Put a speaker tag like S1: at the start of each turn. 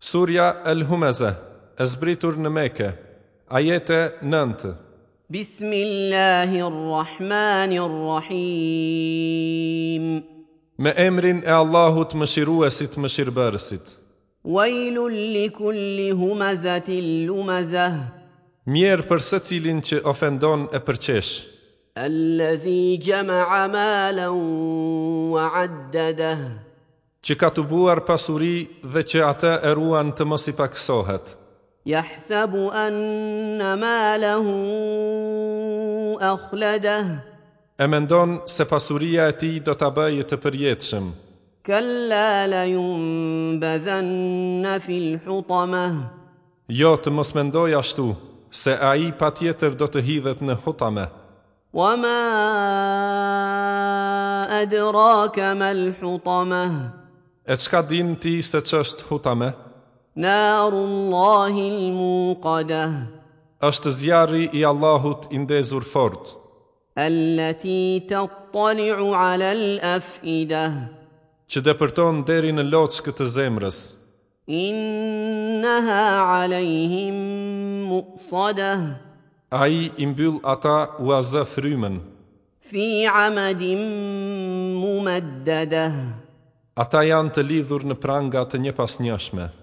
S1: Surja El Humeze, e zbritur në Mekë, ajete 9.
S2: بسم الله الرحمن الرحيم
S1: Me emrin e Allahut mëshiruesit mëshirbërësit.
S2: ويل لكل همزة لمزة
S1: Mjerë për se cilin që ofendon e përqesh,
S2: الذي جمع مالا وعدده
S1: që ka të buar pasuri dhe që ata e ruan të mos i paksohet,
S2: يحسب أن ماله أخلده
S1: e mendon se pasuria e ti do të bëjë të përjetëshëm.
S2: كلا لينبذن في الحطمة
S1: Jo të mos mendoj ashtu, se a i pa tjetër do të hidhet në hutame.
S2: وما أدراك ما الحطمة
S1: E qka din ti se që është hutame?
S2: نار الله الموقدة
S1: është zjarri i Allahut i ndezur fortë.
S2: التي تطلع على الأفئدة
S1: që depërton deri në loçkë të zemrës,
S2: إنها عليهم مؤصدة
S1: a i imbyll ata u azë frymen,
S2: في عمد ممدده
S1: ata janë të lidhur në pranga të një pas njëshme.